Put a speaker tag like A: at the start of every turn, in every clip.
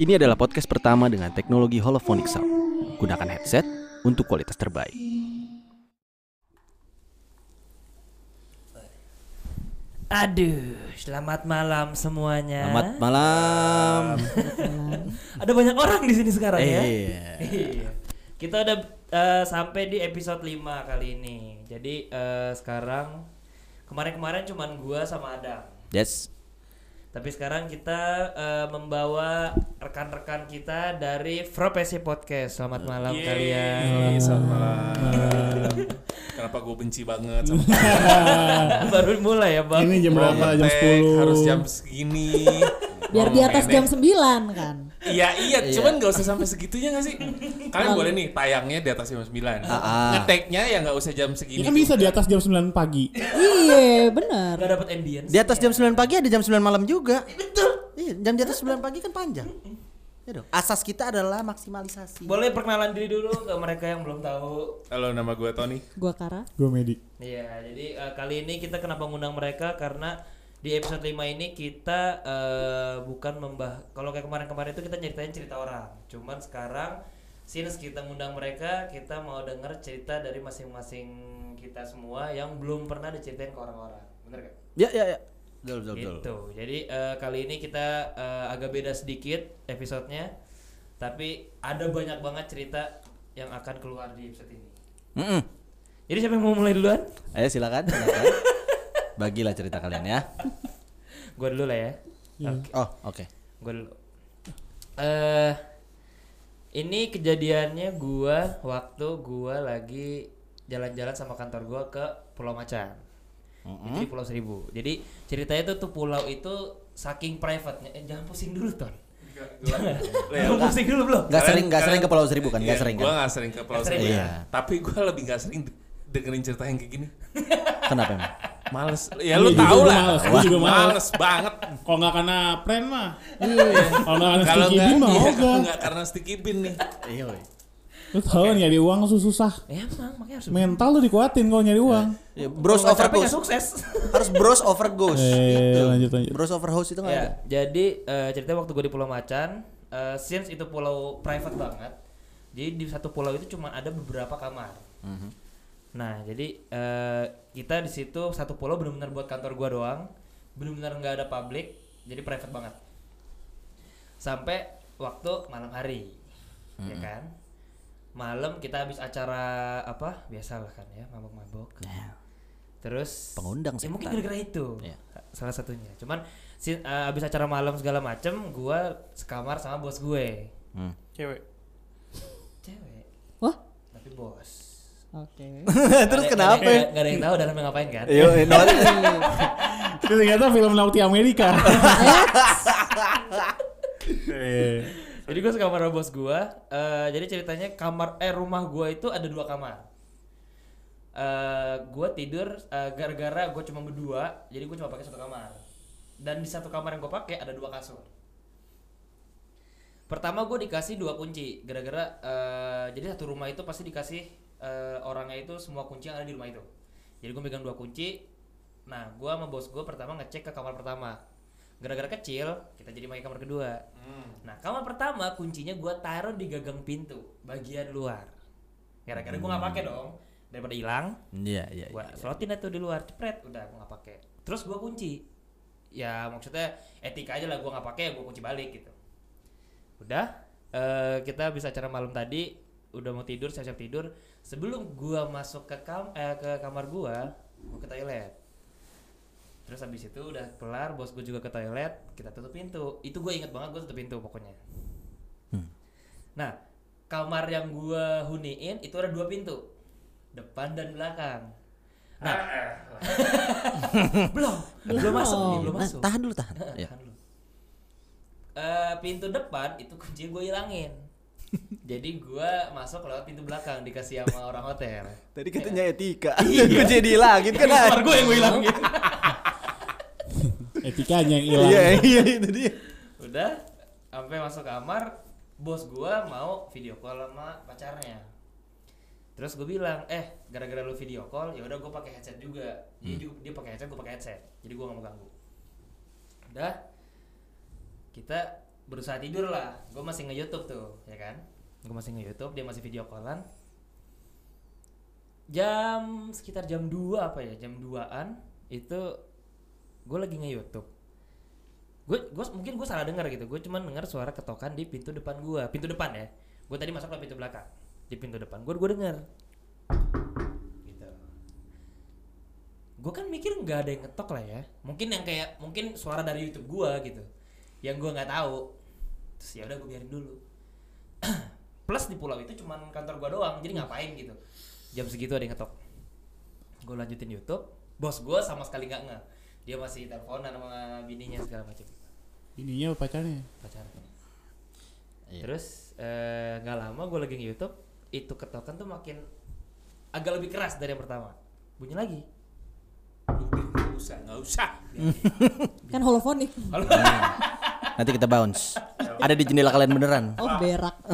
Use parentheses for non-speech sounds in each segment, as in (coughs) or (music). A: Ini adalah podcast pertama dengan teknologi holophonic sound. Gunakan headset untuk kualitas terbaik.
B: Aduh, selamat malam semuanya.
A: Selamat malam.
B: (laughs) Ada banyak orang di sini sekarang
A: (laughs)
B: ya.
A: Eh,
B: Iya. Kita udah eh, sampai di episode 5 kali ini. Jadi eh, sekarang kemarin-kemarin cuman gua sama Adam.
A: yes.
B: Tapi sekarang kita eh, membawa rekan-rekan kita dari Propesi Podcast. Selamat malam
C: Yeay,
B: kalian.
C: Selamat malam. Kenapa gue benci banget sama kamu?
B: (laughs) Baru mulai ya, Bang.
D: Ini (laughs) jam berapa? Jam
C: Ngetek,
D: 10.
C: harus jam segini.
E: Biar
C: Ngomong
E: di atas
C: pendek.
E: jam 9 kan.
C: Iya iya, cuman gak usah sampai segitunya gak sih? Kalian boleh nih tayangnya di atas jam 9
A: Ah.
C: Ngeteknya ya gak usah jam
D: Ini
C: segini
D: kan bisa di atas jam 9 pagi.
E: Iya, bener.
B: Gak dapat ambience.
A: Di atas jam 9 pagi ada jam 9 malam juga. Betul. Iya, jam di atas 9 pagi kan panjang. Ya dong. Asas kita adalah maksimalisasi.
B: Boleh perkenalan diri dulu ke mereka yang belum tahu
C: Halo nama gue Tony
E: Gua Kara.
D: Gue Medi.
B: Iya, jadi eh, kali ini kita kenapa ngundang mereka karena di episode 5 ini kita eh, bukan membah kalau kayak kemarin-kemarin itu kita nyeritain cerita orang. Cuman sekarang since kita ngundang mereka, kita mau denger cerita dari masing-masing kita semua yang belum pernah diceritain ke orang-orang. Bener gak?
A: Ya, ya, ya. Betul, betul, betul.
B: Gitu. Jadi eh, kali ini kita eh, agak beda sedikit episodenya. Tapi ada banyak banget cerita yang akan keluar di episode ini.
A: Mm-mm.
B: Jadi siapa yang mau mulai duluan?
A: Ayo silakan, silakan. Bagilah cerita kalian ya.
B: Gua dulu lah ya. Oke.
A: Oh, oke.
B: Gue dulu. Eh, ini kejadiannya gua waktu gua lagi jalan-jalan sama kantor gua ke Pulau Macan. Itu di Pulau Seribu. Jadi ceritanya tuh tuh pulau itu saking private eh, jangan pusing dulu ton. (laughs) Belum pusing dulu belum.
A: Gak sering, gak sering ke Pulau Seribu kan? Gak sering
C: Gue
A: kan?
C: gak Iya, sering ke Pulau
B: Nggak sering,
C: Seribu
A: ya? Iya.
C: Tapi gue lebih gak sering de- dengerin cerita yang kayak gini
A: Kenapa emang?
C: Males Ya
D: Iya,
C: lu
D: juga
C: tau
D: gua
C: lah
D: males, gua juga males.
C: Males banget
D: Kalau nggak karena pren mah. Kalau nggak karena
C: Kalau nggak
D: sticky bean mah
C: iya,
D: ogah.
C: nggak karena sticky bean nih
A: Iya, woy.
D: Lu tau nyari uang tuh susah.
B: Emang makanya harus
D: Mental tuh dikuatin kalau nyari uang.
A: Ya, Bros
B: Kalau nggak
A: over
B: capek nggak
A: ghost.
B: sukses.
A: Harus bros over ghost.
D: Eh,
A: Gitu.
D: lanjut, lanjut.
A: Bros over host itu nggak ada.
B: ya, jadi eh, cerita waktu gue di Pulau Macan, eh, since itu pulau private banget, jadi di satu pulau itu cuma ada beberapa kamar. Nah, jadi eh, kita di situ satu pulau benar-benar buat kantor gua doang, benar-benar nggak ada publik, jadi private banget. Sampai waktu malam hari, ya kan? Malam kita habis acara apa? Biasalah kan ya, mabok-mabok. Terus
A: Pengundang
B: ya mungkin
A: setan.
B: gara-gara itu
A: Iya.
B: salah satunya. Cuman si, eh, abis acara malam segala macem, gua sekamar sama bos gue,
A: Hmm.
C: Cewek
B: cewek,
E: Wah.
B: tapi bos.
E: Oke.
A: (laughs) Terus
B: Nggak ada-
A: kenapa?
B: nggak ada- nggak ada yang tahu dalamnya ngapain kan?
A: Yo, eh, no.
D: Itu ternyata film Naughty Amerika.
B: Jadi gue sekamar sama bos gue. jadi ceritanya kamar eh rumah gue itu ada dua kamar. Eh gue tidur eh, gara-gara gue cuma berdua, jadi gue cuma pakai satu kamar. Dan di satu kamar yang gue pakai ada dua kasur. Pertama gue dikasih dua kunci, gara-gara eh, jadi satu rumah itu pasti dikasih eh, orangnya itu semua kunci yang ada di rumah itu. Jadi gue pegang dua kunci. Nah, gue sama bos gue pertama ngecek ke kamar pertama. Gara-gara kecil, kita jadi pakai kamar kedua. Nah, kamar pertama kuncinya gua taruh di gagang pintu bagian luar. Gara-gara gua nggak pakai dong, daripada hilang,
A: Iya, Hmm. iya.
B: gua selotin itu di luar, cepret, udah gua nggak pakai. Terus gua kunci. Ya maksudnya etika aja lah gua nggak pakai, ya gua kunci balik gitu. Udah, eh, kita bisa acara malam tadi, udah mau tidur, siap-siap tidur. Sebelum gua masuk ke kam eh, ke kamar gua, gua ke toilet. Terus habis itu udah kelar, bos gue juga ke toilet, kita tutup pintu. Itu gue inget banget gue tutup pintu pokoknya. Nah, kamar yang gue huniin itu ada dua pintu, depan dan belakang. Nah, (laughs) belum, belum masuk, nih, belum
A: Nah,
B: masuk.
A: tahan dulu, tahan. Iya.
B: Tahan dulu. Eh, pintu depan itu kunci gue hilangin. Jadi gue masuk lewat pintu belakang dikasih sama orang hotel.
A: Tadi katanya etika. (laughs) Gue jadi lagi kan.
B: Kamar gue yang gue hilangin.
D: Etikanya yang hilang.
A: Iya, iya itu dia.
B: udah sampai masuk kamar bos gua mau video call sama pacarnya terus gue bilang eh gara-gara lu video call ya udah gue pakai headset juga dia juga- dia pakai headset gue pakai headset jadi gua nggak mau ganggu udah kita berusaha tidur lah gue masih nge YouTube tuh ya kan gue masih nge YouTube dia masih video callan jam sekitar jam 2 apa ya jam 2an itu gue lagi nge YouTube gue gue mungkin gue salah dengar gitu gue cuman dengar suara ketokan di pintu depan gue pintu depan ya gue tadi masuk lewat pintu belakang di pintu depan gue gue dengar gitu gue kan mikir nggak ada yang ngetok lah ya mungkin yang kayak mungkin suara dari YouTube gue gitu yang gue nggak tahu terus ya udah gue biarin dulu (clears throat) plus di pulau itu cuman kantor gue doang jadi ngapain gitu jam segitu ada yang ngetok gue lanjutin YouTube bos gue sama sekali nggak nge dia masih teleponan sama bininya segala macam
D: Ininya pacarnya.
B: pacarnya
A: Iya.
B: terus eh, nggak lama gue lagi YouTube itu ketokan tuh makin agak lebih keras dari yang pertama bunyi lagi
C: Udah, nggak usah, nggak usah.
E: Kan holofonik.
A: Nanti kita bounce. Ada di jendela kalian beneran.
E: Oh berak.
B: (laughs)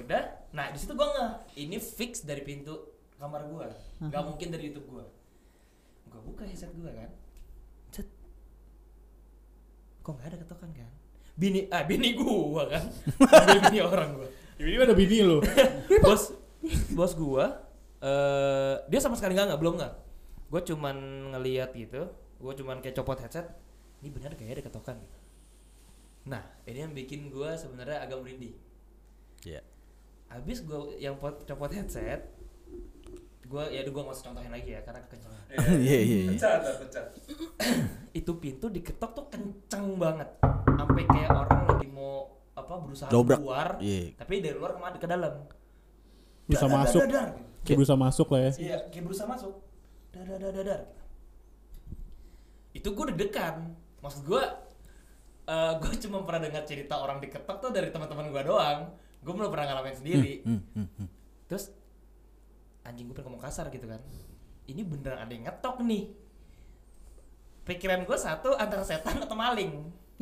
B: udah nah di situ gue nggak ini fix dari pintu kamar gue nggak mungkin dari YouTube gue gue buka headset gue kan set kok nggak ada ketokan kan bini ah bini gue kan Ambil bini orang gue
D: Ini ada bini lo.
B: bos bos gua eh dia sama sekali nggak nggak belum nggak gua cuman ngeliat gitu gua cuman kayak copot headset ini benar kayak ada ketokan gitu nah ini yang bikin gua sebenarnya agak merinding
A: Iya.
B: abis gua yang pot- copot headset gua ya aduh, gua nggak usah contohin lagi ya karena kekencangan
A: (laughs) Iya iya. iya.
C: Pecat, pecat.
B: itu pintu diketok tuh kenceng banget sampai kayak orang lagi mau apa berusaha
A: Dobrak.
B: keluar
A: Iya.
B: tapi dari luar kemana ke dalam
D: Bisa
B: Dadar,
D: masuk.
B: dadar, gitu.
D: Kayak berusaha masuk lah ya.
B: Iya, kayak berusaha masuk. Dar dar dar dar, dar. Itu gue deg-degan. Maksud gue eh gue cuma pernah dengar cerita orang diketok tuh dari teman-teman gue doang. Gue belum pernah ngalamin sendiri.
A: Hmm, hmm, hmm.
B: Terus anjing gue pengen ngomong kasar gitu kan. Ini beneran ada yang ngetok nih. Pikiran gue satu antara setan atau maling.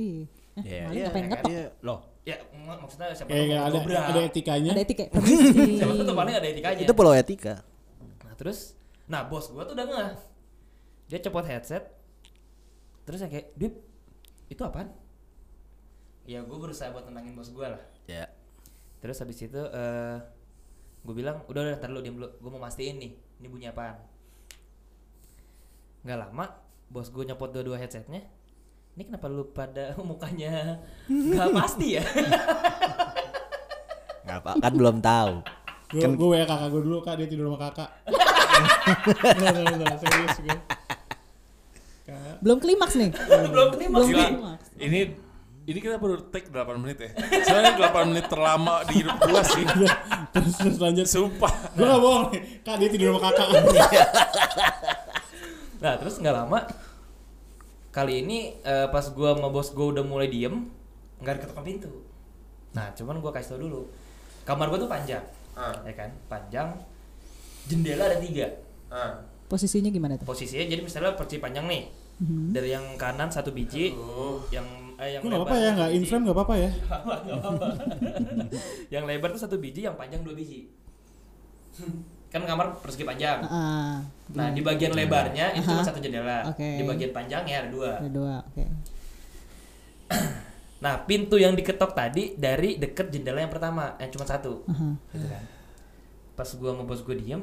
E: Ih. Nah,
A: Iya,
E: maling
A: iya,
E: ngapain
B: iya,
E: ngetok?
A: Iya. Loh,
B: Ya mak- maksudnya siapa
D: Kayak
B: tahu
D: nggak ada
B: dobrak.
D: ada etikanya.
E: Ada etik ya? Permisi.
B: Siapa tahu tuh paling ada etikanya.
A: Eh, itu pulau etika.
B: Nah terus, nah bos gua tuh udah ngeh Dia copot headset Terus yang kayak, Dip, itu apaan? Ya gue berusaha buat tenangin bos gua lah
A: Ya.
B: Terus habis itu eh gue bilang udah udah ntar dulu diam dulu gue mau mastiin nih ini bunyi apaan nggak lama bos gue nyopot dua-dua headsetnya ini kenapa lu pada (laughs) mukanya nggak pasti ya
A: Enggak apa, kan belum (laughs) tahu.
D: Gue
A: Kan-
D: gue ya kakak gue dulu kak dia tidur sama kakak. Bentar, bentar, bentar, serius gue. Kak,
E: Belum klimaks nih.
B: belum terima
E: Belum
C: Gila.
E: klimaks.
C: Ini ini kita baru take 8 menit ya. Soalnya 8 menit terlama di hidup gua sih.
D: Terus terus lanjut.
C: Sumpah.
D: Gue gak bohong nih. Kak dia tidur sama kakak.
B: Nah terus nggak lama kali ini eh, pas gua sama bos gua udah mulai diem nggak diketok pintu. Nah cuman gua kasih tau dulu kamar gua tuh panjang,
C: Ah.
B: ya kan panjang jendela ada tiga
C: Ah.
E: Posisinya gimana tuh?
B: posisinya jadi misalnya perci panjang nih
E: Mhm.
B: dari yang kanan satu biji
C: Aduh.
B: yang eh, yang
D: Gue gak apa-apa
B: lebar
D: ya,
B: satu
D: gak in
B: biji.
D: frame gak apa-apa ya.
B: yang lebar tuh satu biji yang panjang dua biji kan kamar persegi panjang
E: Heeh.
B: nah di bagian
C: Iya.
B: lebarnya itu cuma
E: Ah. Aha.
B: satu jendela
E: Oke.
B: di bagian panjangnya ada dua
E: Ada dua, oke.
B: Nah, pintu yang diketok tadi dari deket jendela yang pertama, yang cuma satu.
E: Aha.
B: Gitu kan. Pas gua sama bos gua diem,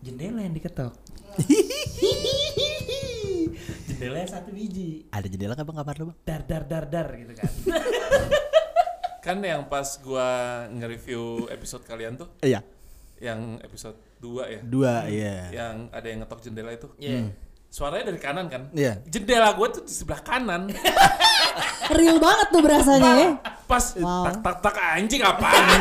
B: jendela yang diketok. (laughs) jendela yang satu biji.
A: Ada jendela nggak bang kamar lu bang?
B: Dar dar dar dar gitu kan.
C: Kan yang pas gua nge-review episode kalian tuh,
A: Iya.
C: yang episode 2 ya.
A: Dua, iya.
C: Yang ada yang ngetok jendela itu.
B: Iya.
C: Suaranya dari kanan kan?
A: Iya.
C: Jendela gua tuh di sebelah kanan.
E: Real banget tuh berasanya ya.
C: Pas
E: Wow.
C: tak tak tak anjing apaan?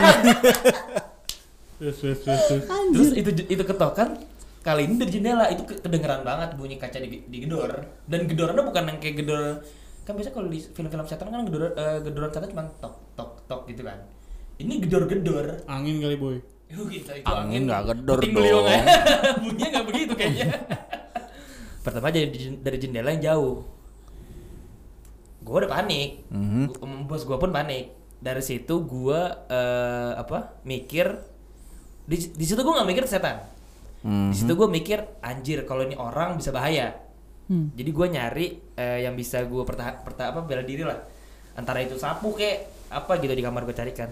D: Terus terus terus. terus.
B: Terus
E: Anjir.
B: itu itu ketokan kali ini dari jendela itu ke- kedengeran banget bunyi kaca di, gedor dan gedorannya bukan yang kayak gedor kan biasa kalau di film-film setan kan gedor eh, gedoran setan cuma tok tok tok gitu kan ini gedor-gedor
D: Angin kali boy.
B: Yuh, gitu, itu
A: Angin nggak gedor
B: Puting
A: dong.
B: beliung ya. (laughs) Bunyinya nggak begitu kayaknya. (laughs) Pertama jadi di- dari jendela yang jauh. Gue udah panik.
A: Mhm.
B: Gua- em, Bos gue pun panik. Dari situ gue eh, apa mikir di, di situ gue nggak mikir setan.
A: Hmm.
B: Di situ gue mikir anjir kalau ini orang bisa bahaya.
E: Hmm.
B: Jadi gue nyari eh, yang bisa gue perta, perta- apa bela diri lah. antara itu sapu kek apa gitu di kamar gue carikan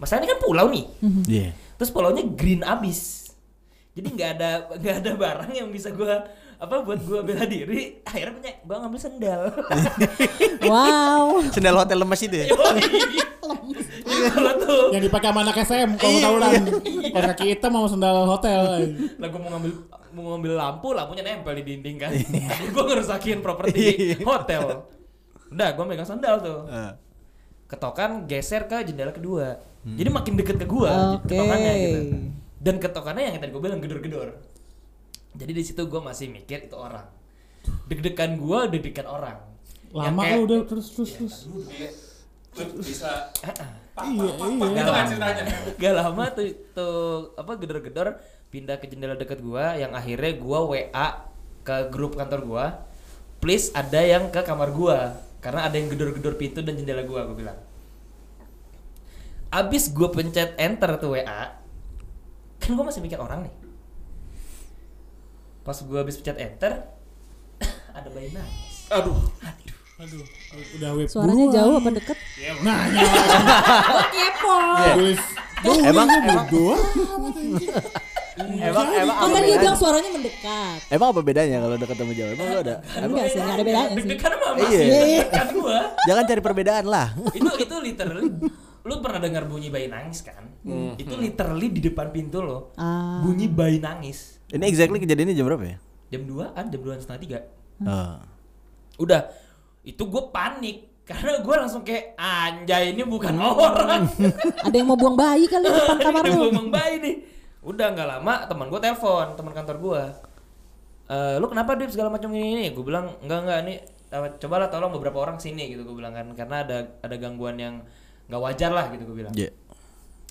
B: masalahnya kan pulau nih
A: Iya.
B: terus pulaunya green abis jadi nggak ada nggak ada barang yang bisa gua apa buat gua bela diri akhirnya punya gua ngambil sendal
E: Wow.
A: Sendal hotel lemes itu ya.
B: Jadi kalau tuh
D: Yang dipakai sama anak SM kalau tawuran. Kalau kaki hitam sama sendal hotel.
B: lah gua mau ngambil mau ngambil lampu lampunya nempel di dinding kan (laughs) Jadi gua ngerusakin properti hotel udah gua megang sandal tuh
A: Eh.
B: ketokan geser ke jendela kedua jadi makin deket ke gua
E: Oke.
B: ketokannya gitu dan ketokannya yang tadi gua bilang gedor-gedor jadi di situ gua masih mikir itu orang deg-degan gua deg-degan orang Yang
D: Lama
B: kayak-
D: kan udah terus terus terus.
C: bisa
D: Iya iya.
C: itu kan ceritanya
B: Gak lama tuh, tuh apa gedor-gedor pindah ke jendela dekat gua yang akhirnya gua WA ke grup kantor gua. Please ada yang ke kamar gua karena ada yang gedor-gedor pintu dan jendela gua gua bilang. Abis gua pencet enter tuh WA. Kan gua masih mikir orang nih. Pas gua abis pencet enter (coughs) ada bayi nangis.
C: aduh
D: Aduh, udah web
E: Suaranya
D: dua.
E: jauh apa deket?
D: Nah, ya.
E: Kepo.
D: Tulis.
A: Emang emang
D: Dua.
A: emang emang
E: Oh
A: apa
E: kan dia bilang
A: bedanya?
E: suaranya mendekat.
A: Emang apa bedanya kalau dekat sama jauh? Emang lu ada? Emang-
E: Enggak sih, enggak ada bedanya sih.
B: Deg-degan sama
A: Iya.
B: masih
C: kan
B: deg-degan gua.
A: Jangan cari perbedaan lah.
B: itu itu literally lu pernah dengar bunyi bayi nangis kan
E: Hmm.
B: itu literally di depan pintu lo
E: Ah.
B: bunyi bayi nangis
A: Ini exactly kejadiannya jam berapa ya?
B: jam 2an jam 2an setengah tiga
A: Oh.
B: udah itu gue panik karena gue langsung kayak anjay ini bukan
E: (laughs)
B: orang (laughs)
E: Ada yang mau buang bayi kali di depan Hmm. kamar
B: ini
E: lu.
B: ngomong bayi nih udah nggak lama teman gue telepon teman kantor gue Eh lu kenapa dip segala macam ini ini gue bilang enggak enggak nih eh, cobalah tolong beberapa orang sini gitu gue bilang kan karena ada ada gangguan yang nggak wajar lah gitu gue bilang
A: Iya.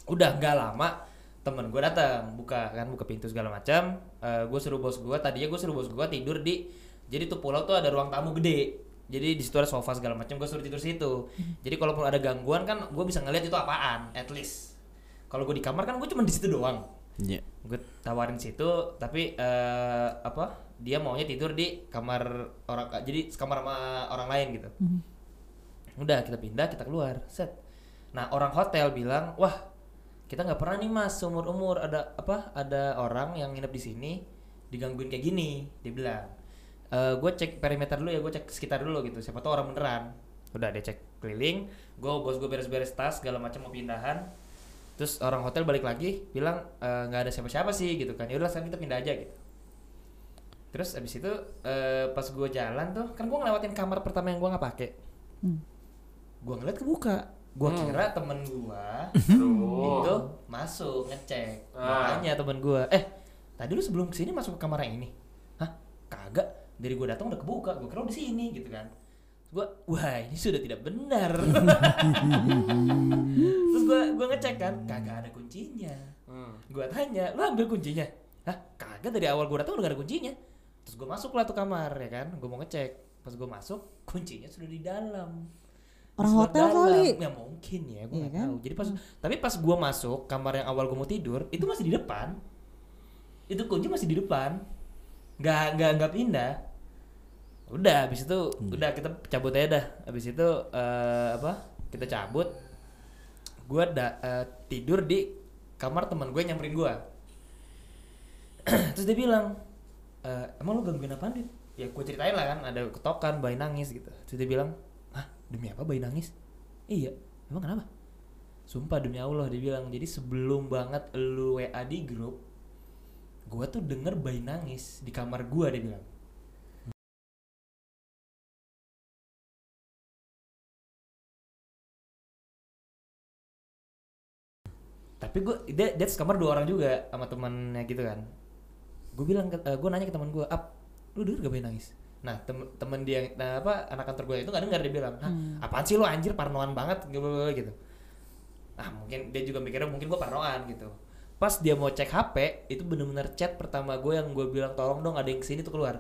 B: udah nggak lama temen gue datang buka kan buka pintu segala macam gue suruh bos gue tadinya gue suruh bos gue tidur di jadi tuh pulau tuh ada ruang tamu gede jadi di situ ada sofa segala macam gue suruh tidur situ jadi kalaupun ada gangguan kan gue bisa ngeliat itu apaan at least kalau gue di kamar kan gue cuma di situ doang
A: Iya.
B: gue tawarin situ tapi eh, apa dia maunya tidur di kamar orang eh, jadi kamar sama orang lain gitu udah kita pindah kita keluar set nah orang hotel bilang wah kita nggak pernah nih mas umur umur ada apa ada orang yang nginep di sini digangguin kayak gini dia bilang "Eh, gue cek perimeter dulu ya gue cek sekitar dulu gitu siapa tahu orang beneran udah dia cek keliling gue bos gue beres-beres tas segala macam mau pindahan terus orang hotel balik lagi bilang "Eh, nggak ada siapa-siapa sih gitu kan yaudah sekarang kita pindah aja gitu terus abis itu eh, pas gue jalan tuh kan gue ngelewatin kamar pertama yang gue nggak pakai
E: Hmm.
B: gue ngeliat kebuka gue kira temen gue itu masuk ngecek
C: Ah.
B: makanya temen gue eh tadi lu sebelum kesini masuk ke kamar yang ini hah kagak dari gue datang udah kebuka gue kira lu di sini gitu kan gue wah ini sudah tidak benar terus gue gue ngecek kan kagak ada kuncinya gue tanya lu ambil kuncinya hah kagak dari awal gue datang udah gak ada kuncinya terus gue masuk lah tuh kamar ya kan gue mau ngecek pas gue masuk kuncinya sudah di dalam
E: Orang
B: Sudah
E: hotel
B: dalam.
E: kali.
B: ya mungkin ya gue
E: Iya
B: nggak
E: kan?
B: tahu jadi pas tapi pas gue masuk kamar yang awal gue mau tidur itu masih di depan itu kunci masih di depan nggak nggak nggak pindah udah habis itu
E: Hmm.
B: udah kita cabut aja dah habis itu eh, apa kita cabut gue da- eh, tidur di kamar teman gue yang nyamperin gue (clears throat) terus dia bilang "Eh, emang lu gangguin apaan dit ya gue ceritain lah kan ada ketokan bayi nangis gitu terus dia bilang ah demi apa bayi nangis iya emang kenapa sumpah demi allah dia bilang jadi sebelum banget lu wa di grup gue tuh denger bayi nangis di kamar gue dia bilang tapi gue dia, dia sekamar dua orang juga sama temannya gitu kan gue bilang ke, gue nanya ke teman gue ap lu denger gak bayi nangis nah tem temen dia yang- nah apa anak kantor gue itu nggak dengar dia bilang Hah,
E: Hmm.
B: apaan sih lu anjir parnoan banget blablabla gitu ah mungkin dia juga mikirnya mungkin gue parnoan gitu pas dia mau cek HP itu bener-bener chat pertama gue yang gue bilang tolong dong ada yang kesini tuh keluar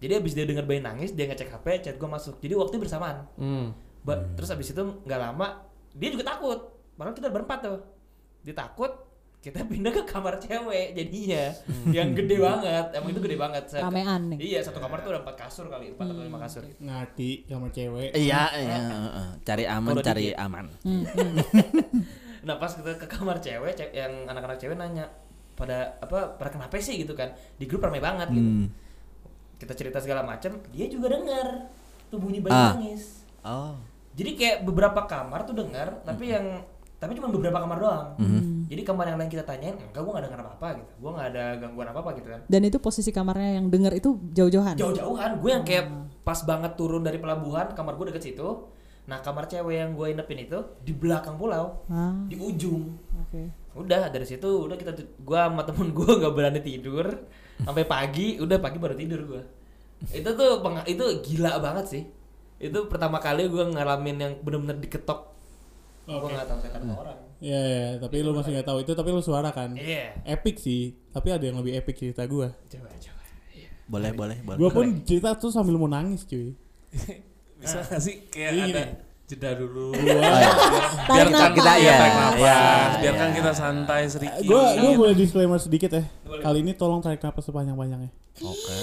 B: jadi abis dia denger bayi nangis dia ngecek HP chat gue masuk jadi waktu bersamaan
C: Hmm.
B: Ba- Terus abis itu nggak lama dia juga takut. Padahal kita berempat tuh. Dia takut. kita pindah ke kamar cewek jadinya yang gede banget emang itu gede banget Satu-
E: Ramean nih.
B: iya satu kamar tuh ada empat kasur kali empat atau lima kasur
D: ngerti sama cewek
A: Iya, iya, eh, eh. cari aman,
B: Kalau
A: cari
B: dikit.
A: aman.
E: Hmm, hmm.
B: nah pas kita ke kamar cewek ce- yang anak-anak cewek nanya pada apa pada kenapa sih gitu kan di grup ramai banget gitu
A: Hmm.
B: kita cerita segala macam dia juga dengar tuh bunyi bayi
A: Ah.
B: nangis
A: Oh.
B: jadi kayak beberapa kamar tuh dengar tapi
A: Hmm.
B: yang tapi cuma beberapa kamar doang jadi kamar yang lain kita tanyain enggak gua nggak dengar apa apa gitu gua nggak ada gangguan apa apa gitu kan
E: Dan itu posisi kamarnya yang denger itu jauh-jauhan.
B: jauh-jauhan gue yang kayak
A: Hmm.
B: pas banget turun dari pelabuhan kamar gue deket situ nah kamar cewek yang gue inepin itu di belakang pulau
E: Ah,
B: di ujung
E: oke.
B: udah dari situ udah kita gue sama temen gue nggak berani tidur sampai pagi udah pagi baru tidur gue itu tuh peng- itu gila banget sih itu pertama kali gue ngalamin yang bener-bener diketok gue
D: Oke.
B: nggak tahu setan sama orang
D: Iya, iya, tapi lu masih nggak tahu itu, tapi lu suara kan.
B: iya
D: Epic sih, tapi ada yang lebih epic cerita gua.
B: coba coba Iya.
A: Boleh, boleh, boleh. Oh,
D: Gua pun cerita tuh sambil mau nangis cuy.
C: Bisa nggak sih kayak
D: Jadi
C: ada
D: gini.
C: jeda dulu.
A: Oh, iya.
E: Tarik
C: biarkan kita
A: kita-
C: ya,
A: iya,
C: tarik nafas.
A: iya,
C: biarkan
A: iya.
C: kita santai sedikit.
D: Gue gua boleh disclaimer sedikit ya.
B: Boleh.
D: Kali ini tolong tarik napas sepanjang-panjangnya.
A: Oke.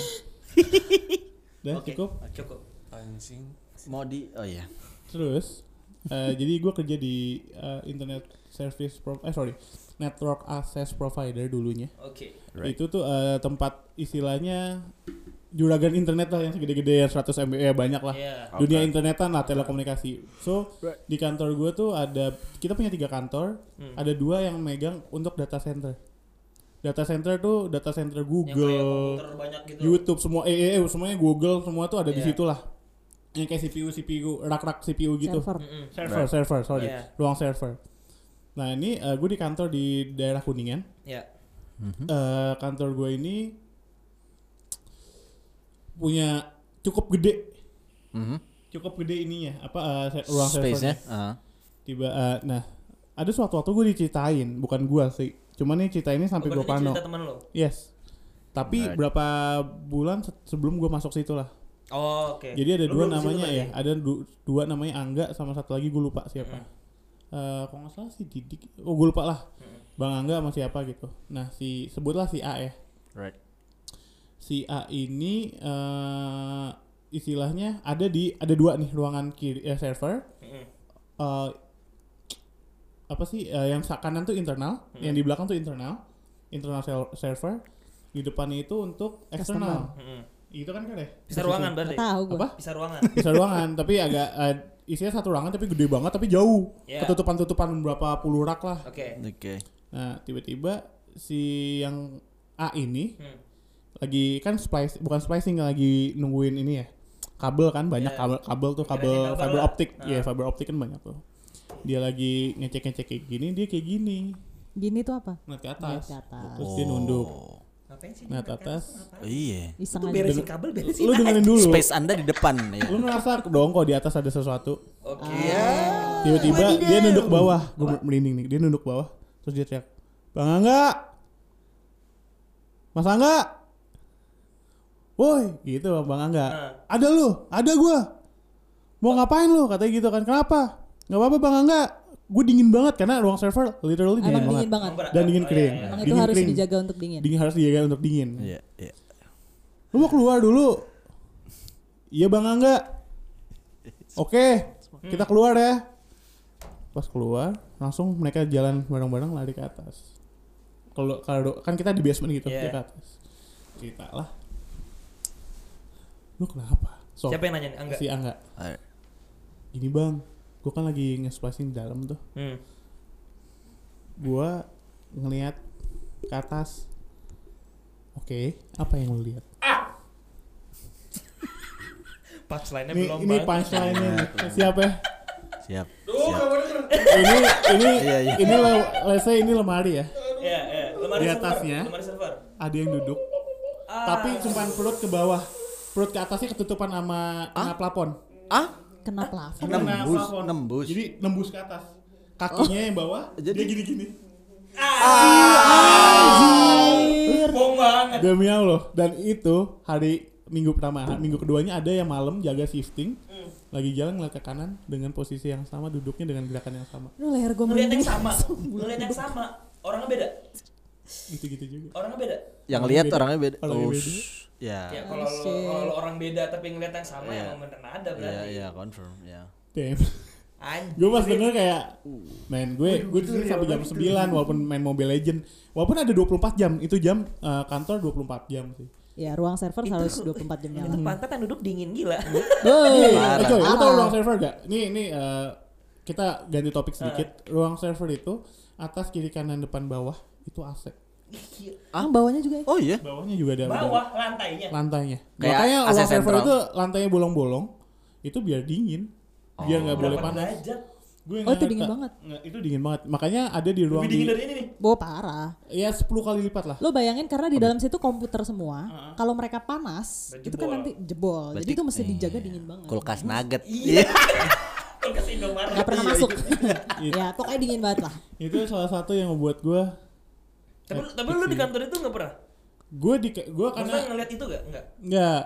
D: Udah
B: Oke,
D: Ya, cukup.
B: cukup
C: anjing.
A: Mau di Oh iya.
D: Terus eh, jadi gua kerja di eh, internet service pro eh sorry, network access provider dulunya.
B: oke
A: Right.
D: Itu tuh eh, tempat istilahnya juragan internet lah yang segede-gede yang 100 MB ya banyak lah.
B: iya
A: Oke.
D: Dunia internetan lah telekomunikasi. So di kantor gua tuh ada kita punya tiga kantor,
B: Hmm.
D: ada dua yang megang untuk data center. Data center tuh data center Google,
B: yang kayak komputer banyak gitu
D: YouTube semua eh, eh, eh, semuanya Google semua tuh ada di
B: Iya.
D: situ lah. Yang kayak CPU CPU rak-rak CPU gitu.
E: Server.
B: Mm-mm.
D: Server, server, sorry.
B: Iya.
D: Ruang server. Nah, ini gue di kantor di daerah Kuningan.
B: ya
D: Eh, kantor gue ini punya cukup gede,
A: Mhm.
D: cukup gede ininya, apa eh, se- ruang
A: Space-nya.
D: servernya.
A: Heeh.
D: Tiba eh, nah, ada suatu waktu gue diceritain, bukan gua sih. Cuman nih cerita ini sampai
B: Oh,
D: gue
B: berarti ini
D: pano.
B: cerita teman lo
D: Yes. Tapi
A: Right.
D: berapa bulan se- sebelum gue masuk situ lah.
B: oh oke
D: Jadi ada
B: Lo
D: dua
B: belum ke situ
D: namanya
B: berarti?
D: ya, ada du- dua namanya Angga sama satu lagi gue lupa
B: Hmm.
D: siapa. Eh, kalau nggak salah si Didik, oh gue lupa lah,
B: Hmm.
D: Bang Angga sama siapa gitu. Nah si sebutlah si A ya,
A: Right.
D: si A ini eh istilahnya ada di ada dua nih ruangan kiri eh, server.
B: Mm-mm.
D: Eh, apa sih eh, yang sa- kanan tuh internal,
B: Hmm.
D: yang di belakang tuh internal, internal sel- server. Di depannya itu untuk eksternal.
B: Mm-mm.
D: Itu kan kan ya?
B: bisa ruangan berarti
E: Nggak Tahu gue.
D: Apa?
B: bisa ruangan
D: bisa ruangan tapi agak eh, isinya satu ruangan tapi gede banget tapi jauh
B: Iya.
D: ketutupan tutupan berapa puluh rak lah
B: oke
A: Oke.
D: nah tiba-tiba si yang A ini
B: Hmm.
D: lagi kan splice bukan splicing lagi nungguin ini ya kabel kan banyak
B: Iya.
D: kabel kabel tuh kabel
B: Kirain kabel
D: fiber
B: lah. Nah.
D: optik ya fiber optik kan banyak tuh dia lagi ngecek ngecek kayak gini dia kayak gini
E: Gini tuh apa?
D: ngeliat ke atas,
E: Ngeliat ke atas.
D: terus dia nunduk
A: Oh,
B: ngapain sih
D: ngeliat
B: di
D: atas
A: Iya.
E: Iseng
B: Itu
E: aja.
B: beresin kabel, beresin
D: lu dengerin dulu
A: Space Anda di depan ya.
D: lu ngerasa dong kok di atas ada sesuatu
B: Oke.
D: Ah. tiba-tiba dia nunduk bawah gue merinding nih dia nunduk bawah terus dia teriak bang angga mas angga woi gitu bang angga ada lu ada gua mau ngapain lu katanya gitu kan kenapa nggak apa-apa bang angga gue dingin banget karena ruang server literally dingin,
E: Emang dingin banget.
B: banget.
D: dan dingin
B: Oh, iya,
D: kering
B: iya.
E: Emang itu
D: dingin
E: harus
D: kering
E: dijaga untuk dingin.
D: dingin harus dijaga untuk dingin
A: Iya, iya.
D: lu mau keluar dulu iya bang angga oke kita keluar ya pas keluar langsung mereka jalan bareng-bareng lari ke atas kalau kalau kan kita di basement gitu
B: Iya.
D: dia ke atas cerita lah lu kenapa so,
B: Siapa yang nanya nih? Angga.
D: si angga
A: Alright.
D: ini bang gua kan lagi nge-splicing di dalam tuh
B: Hmm.
D: gua ngelihat ke atas oke apa yang lu lihat
B: Punchline-nya
D: ini
B: belum
D: ini
B: Bang.
D: punchline nya siapa ya
A: Siap.
C: Duh,
A: Siap.
C: kamu denger.
D: ini ini
A: Iya, iya.
D: ini lo, let's say ini lemari ya.
B: Iya, iya. Lemari
D: Di
B: server,
D: atasnya.
B: Lemari server.
D: Ada yang duduk,
B: Ah.
D: tapi cuman perut ke bawah. Perut ke atasnya ketutupan sama sama plafon.
A: Ah,
E: Kena plafon.
D: Kena
A: nembus,
D: plafon.
A: nembus. Oh.
D: Jadi nembus ke atas. Kakinya yang bawah,
A: (laughs) Jadi-
D: dia gini-gini.
A: Ah.
B: Bohong banget.
D: Demi Allah. Dan itu hari minggu pertama, hari minggu keduanya ada yang malam jaga shifting.
B: Hmm.
D: Lagi jalan ngeliat ke kanan dengan posisi yang sama, duduknya dengan gerakan yang sama.
E: Lu leher gue
B: Ngeliat
E: merinding.
B: yang sama. Ngeliat yang sama. orangnya beda
D: gitu-gitu juga.
B: orangnya beda
A: Yang
D: Orangnya
A: lihat
D: beda.
A: orangnya beda.
D: Orangnya
A: Oh,
D: beda.
A: shh. Ya.
B: ya kalau lo-
E: shit.
B: kalau lo orang beda tapi ngeliat yang sama ya
A: Iya.
B: emang bener ada
A: Iya,
B: berarti
A: iya, confirm, ya.
D: Damn.
B: anjing
D: gue pas denger kayak main gue gue di sini sampai jam 9 walaupun main Mobile Legend walaupun ada 24 jam itu jam eh, kantor 24 jam sih
E: Ya ruang server harus 24 jam nyala.
B: itu pantat yang duduk dingin gila
D: Hei,
A: Parah.
D: eh, coy, lu tau
E: Parah.
D: ruang server gak? Nih, nih eh, kita ganti topik sedikit. Ruang server itu atas kiri kanan depan bawah itu AC.
E: Ah, bawahnya juga ya?
A: Oh iya.
D: Bawahnya juga ada ada
B: bawah lantainya
D: lantainya.
A: Kayak
D: Makanya
A: AC
D: ruang server
A: sentral.
D: itu lantainya bolong-bolong. Itu biar dingin. Biar nggak boleh
B: Berapa
D: panas.
B: derajat?
D: Gue
E: Oh, itu
D: nggak
E: dingin
D: ngerti.
E: banget.
D: Nggak, itu dingin banget. Makanya ada di ruang
B: lebih dingin
D: di,
B: dari ini nih
E: Bawa parah.
D: ya 10 kali lipat lah.
E: Lo bayangin karena di dalam situ komputer semua, kalau mereka panas,
B: Dan
E: itu kan
B: jebol.
E: nanti jebol. Jadi
A: Berarti-
E: itu mesti dijaga
D: Eh.
A: iya.
E: dingin banget.
A: Kulkas nugget.
B: iya kalau ke Indomaret
E: Gak pernah masuk. (laughs) ya pokoknya dingin banget lah.
D: Itu salah satu yang membuat gue
B: tapi lu- tapi lu di kantor itu nggak pernah
D: gue di gue karena
B: Maksudnya ngeliat itu gak? Enggak.
D: Enggak.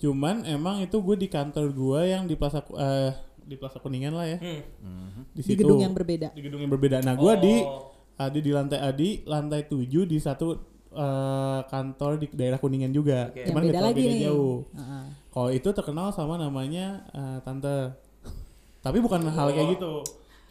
D: Cuman emang itu gue di kantor gue yang di Plaza Ku- eh, di Plaza Kuningan lah ya.
B: Hmm.
D: Di,
E: Di
D: situ.
E: gedung yang berbeda.
D: Di gedung yang berbeda. Nah, gue
B: Oh.
D: di ada di lantai Adi, lantai 7 di satu eh, kantor di daerah Kuningan juga.
B: Oke.
E: Yang
D: Cuman
E: beda
D: nggak terlalu
E: lagi
D: beda
E: nih.
D: jauh.
E: Heeh.
D: Kalau itu terkenal sama namanya eh, tante. Tapi bukan hal kayak gitu.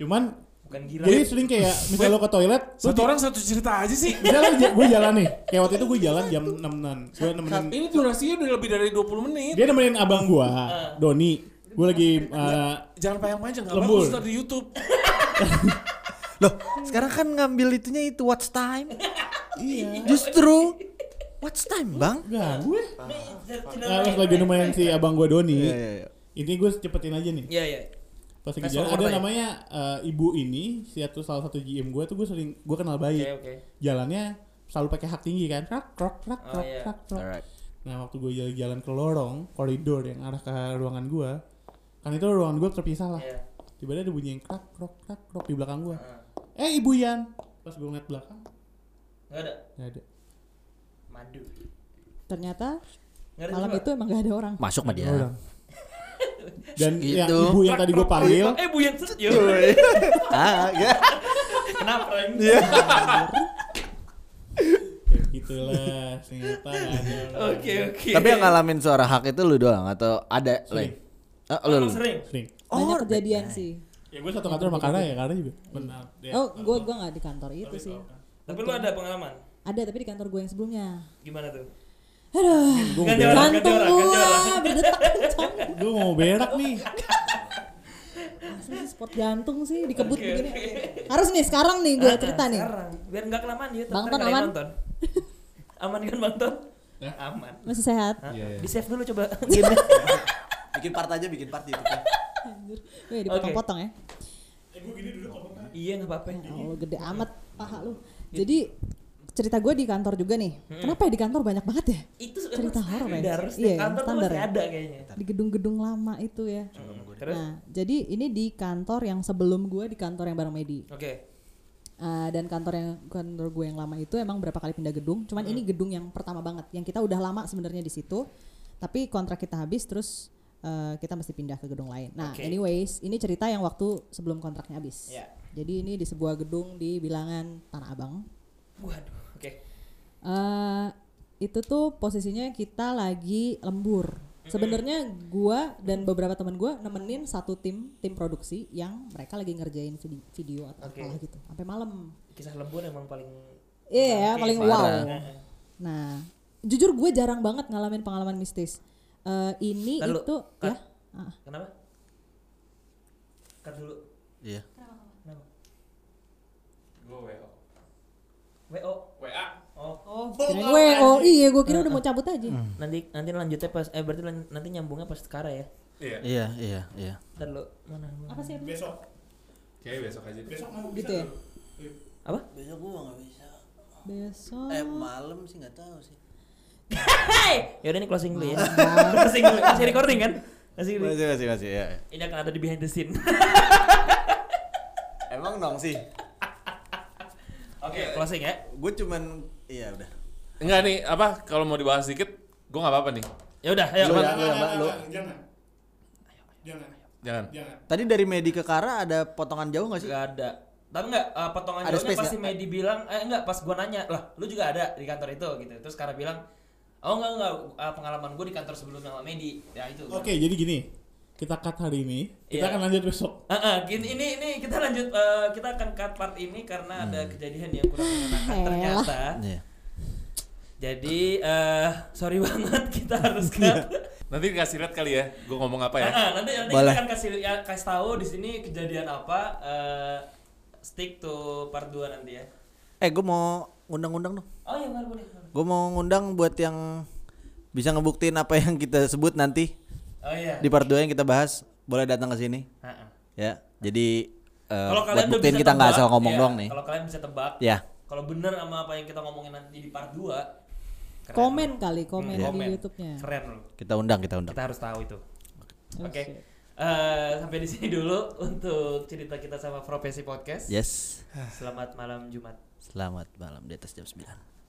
D: Cuman
B: Bukan gila.
D: jadi sering kayak misalnya lo ke toilet, lo
C: Satu orang satu cerita aja sih.
D: misalnya gue jalan nih. Kayak waktu itu gue jalan jam 6-an. Gue nemenin
C: (laughs) Ini durasinya udah lebih dari 20 menit.
D: dia nemenin abang gua
B: Ah.
D: Doni gua lagi
B: Iya.
D: uh,
C: Jangan panjang-panjang, nggak
D: Lembur.
C: bagus ntar di YouTube.
A: Loh, sekarang kan ngambil itunya itu watch time. iya. Justru watch time, Bang.
D: enggak gue
A: Ah.
B: Iya,
D: nah, pas lagi nemenin si abang
A: Iya,
D: gua Doni
A: iya, iya.
D: ini gue cepetin aja nih
B: Iya, iya.
D: pas lagi
B: Fast
D: jalan
B: forward
D: ada
B: aja.
D: namanya uh, ibu ini si satu salah satu GM gua tuh gue sering gue kenal
B: Oke,
D: baik
B: oke.
D: jalannya selalu pakai hak tinggi kan krak krak krak
B: Oh,
D: krak
B: iya.
D: krak krak
A: Alright.
D: nah waktu gue jalan-jalan ke lorong koridor yang arah ke ruangan gua kan itu ruangan gua terpisah lah
B: Iya. Ah.
D: tiba-tiba ada bunyi yang krak krak krak krak di belakang gua
B: Heeh.
D: eh ibu Yan pas gue ngeliat belakang
B: Nggak ada.
D: nggak ada
B: Madu.
E: Ternyata
B: Nggak ada
E: malam
B: juga.
E: itu emang gak ada orang.
A: Masuk mah dia. (laughs)
D: Orang. Dan
A: Iya. Gitu.
D: yang ibu yang tadi gue panggil,
B: Eh, Buyan. Yo.
A: Ah, ya.
B: Kenapa? Reng?
E: Iya.
D: ya (laughs) gitulah ternyata nggak ada orang.
B: Oke, oke.
A: Tapi yang ngalamin suara hak itu lu doang atau ada lain? Ah, lu, lu.
B: Emang sering.
D: Sering.
B: Oh,
E: Banyak kejadian sih.
D: Ya gue satu kantor sama Kara ya Kara juga. Benar. Ya,
E: Oh, gue gua nggak di kantor itu sih.
B: Tapi lu ada pengalaman?
E: Ada tapi di kantor gue yang sebelumnya.
B: Gimana tuh?
E: Aduh,
D: Gue mau
B: Ganti
D: berak,
B: orang, ganti
E: jantung
B: orang, ganti
E: gua
B: orang.
E: berdetak kencang.
D: gue Eh, mau berak nih.
E: Asli sih sport jantung sih dikebut
B: Oke,
E: begini.
B: oke. Ah,
E: Harus nih sekarang nih gue cerita nih.
B: Nah, Sekarang, biar nggak kelamaan dia.
E: Bang Ton,
B: ntar nggak ada yang
E: aman?
B: nonton. aman kan Bang Ton? Aman.
E: Masih sehat.
B: Hah?
C: Iya, iya.
B: Di save dulu coba.
A: Bikin part aja, bikin part itu.
E: Wih, dipotong-potong ya.
B: Iya nggak apa-apa.
E: Ya Allah gede amat paha
B: Iya.
E: lu. Jadi cerita gue di kantor juga nih.
B: Hmm.
E: Kenapa ya di kantor banyak banget ya?
B: Itu
E: Cerita horor ya?
B: standar.
E: Iya,
B: Setiap kantor tuh
E: standar
B: masih
E: ya.
B: ada kayaknya.
E: Di gedung-gedung lama itu ya.
B: Terus?
E: Nah, jadi ini di kantor yang sebelum gue di kantor yang bareng Medi.
B: Oke.
E: Eh, dan kantor yang kantor gue yang lama itu emang berapa kali pindah gedung. Cuman ini
B: Hmm.
E: gedung yang pertama banget yang kita udah lama sebenarnya di situ. Tapi kontrak kita habis terus eh, kita mesti pindah ke gedung lain. Nah,
B: Oke.
E: anyways, ini cerita yang waktu sebelum kontraknya habis.
B: Ya.
E: Jadi ini di sebuah gedung di bilangan Tanah Abang.
B: Waduh. Oke.
E: eh itu tuh posisinya kita lagi lembur. Sebenarnya gua dan beberapa teman gua nemenin satu tim tim produksi yang mereka lagi ngerjain vide- video atau
B: Oke.
E: apalah gitu sampai malam.
B: Kisah lembur emang paling
E: Iya, ya,
B: Oke,
E: paling wow.
A: parah.
E: Nah, jujur gue jarang banget ngalamin pengalaman mistis. Eh ini
B: Lalu,
E: itu
B: Kak.
E: ya. Ah,
B: Kenapa? Cut dulu.
A: Iya.
B: Kenapa?
C: Gue WO.
B: WO.
C: WA.
B: Oh.
E: kirain gue, oh iya gue kira udah mau cabut aja.
B: Nanti nanti lanjutnya pas eh berarti lan- nanti nyambungnya pas Kara ya.
C: Iya.
A: Iya, iya, iya.
B: Ntar lu mana? mana?
E: Apa sih? Apa?
D: Besok.
C: Kayaknya besok aja. deh.
D: Besok mau
E: Gitu ya.
B: Apa?
A: Besok gua enggak bisa.
E: Besok.
A: Eh, malam sih enggak tahu sih.
B: Hai. Ya udah nih closing dulu ya. (laughs) closing dulu. Masih recording kan? Masih recording.
A: Masih, masih, masih, ya. ya.
B: Ini akan ada di behind the scene.
A: Emang nong sih.
B: Oke, closing ya.
A: Gua cuman iya udah.
C: Enggak nih, apa kalau mau dibahas dikit, gue nggak apa-apa nih.
B: Ya udah, ayo.
A: Lu
D: Iya.
B: Bang.
A: ya, lu ya, Mbak, lu.
D: Jangan. Jangan.
C: Jangan.
D: Jangan.
C: Ya.
A: Tadi dari Medi ke Kara ada potongan jauh nggak sih?
B: Gak ada. tapi enggak eh, potongan
A: Ada
B: jauhnya
A: space
B: pasti
A: nggak?
B: Medi bilang eh enggak pas gua nanya lah lu juga ada di kantor itu gitu terus karena bilang oh enggak enggak eh, pengalaman gua di kantor sebelumnya sama Medi ya itu
D: Oke, jadi gini. Kita cut hari ini. Kita
B: Iya.
D: akan lanjut besok.
B: Ah, ah, gini- ini ini kita lanjut eh, kita akan cut part ini karena ada kejadian yang kurang menyenangkan
E: Elah.
B: ternyata
A: Iya.
B: jadi eh sorry (laughs) banget kita harus
A: Iya.
B: (laughs) cut
C: Nanti dikasih lihat kali ya, gue ngomong apa (laughs) ya.
B: Ah, ah, nanti nanti
A: Boleh.
B: kita akan kasih ya, kasih tahu di sini kejadian apa. eh, stick to part 2 nanti ya.
A: Eh, gue mau ngundang-undang dong.
B: Oh iya boleh boleh. boleh.
A: Gue mau ngundang buat yang bisa ngebuktiin apa yang kita sebut nanti
B: Oh iya.
A: di part 2 yang kita bahas, boleh datang ke sini.
B: Ah, ah.
A: Ya. Jadi eh
B: Kalau
A: buat
B: kalian udah
A: buktiin
B: bisa
A: kita nggak
B: tebak,
A: asal ngomong
B: ya,
A: doang nih.
B: Kalau kalian bisa tebak,
A: Ya.
B: kalau bener sama apa yang kita ngomongin nanti di part 2 keren.
E: Komen kali, komen
B: Hmm,
E: di YouTube-nya.
B: Keren loh.
A: Kita undang, kita undang.
B: Kita harus tahu itu.
E: Oh,
B: Oke.
E: shit.
B: Eh, sampai di sini dulu untuk cerita
A: Iya.
B: kita sama Profesi Podcast.
A: Yes.
B: Selamat malam Jumat.
A: Selamat malam di atas jam 9.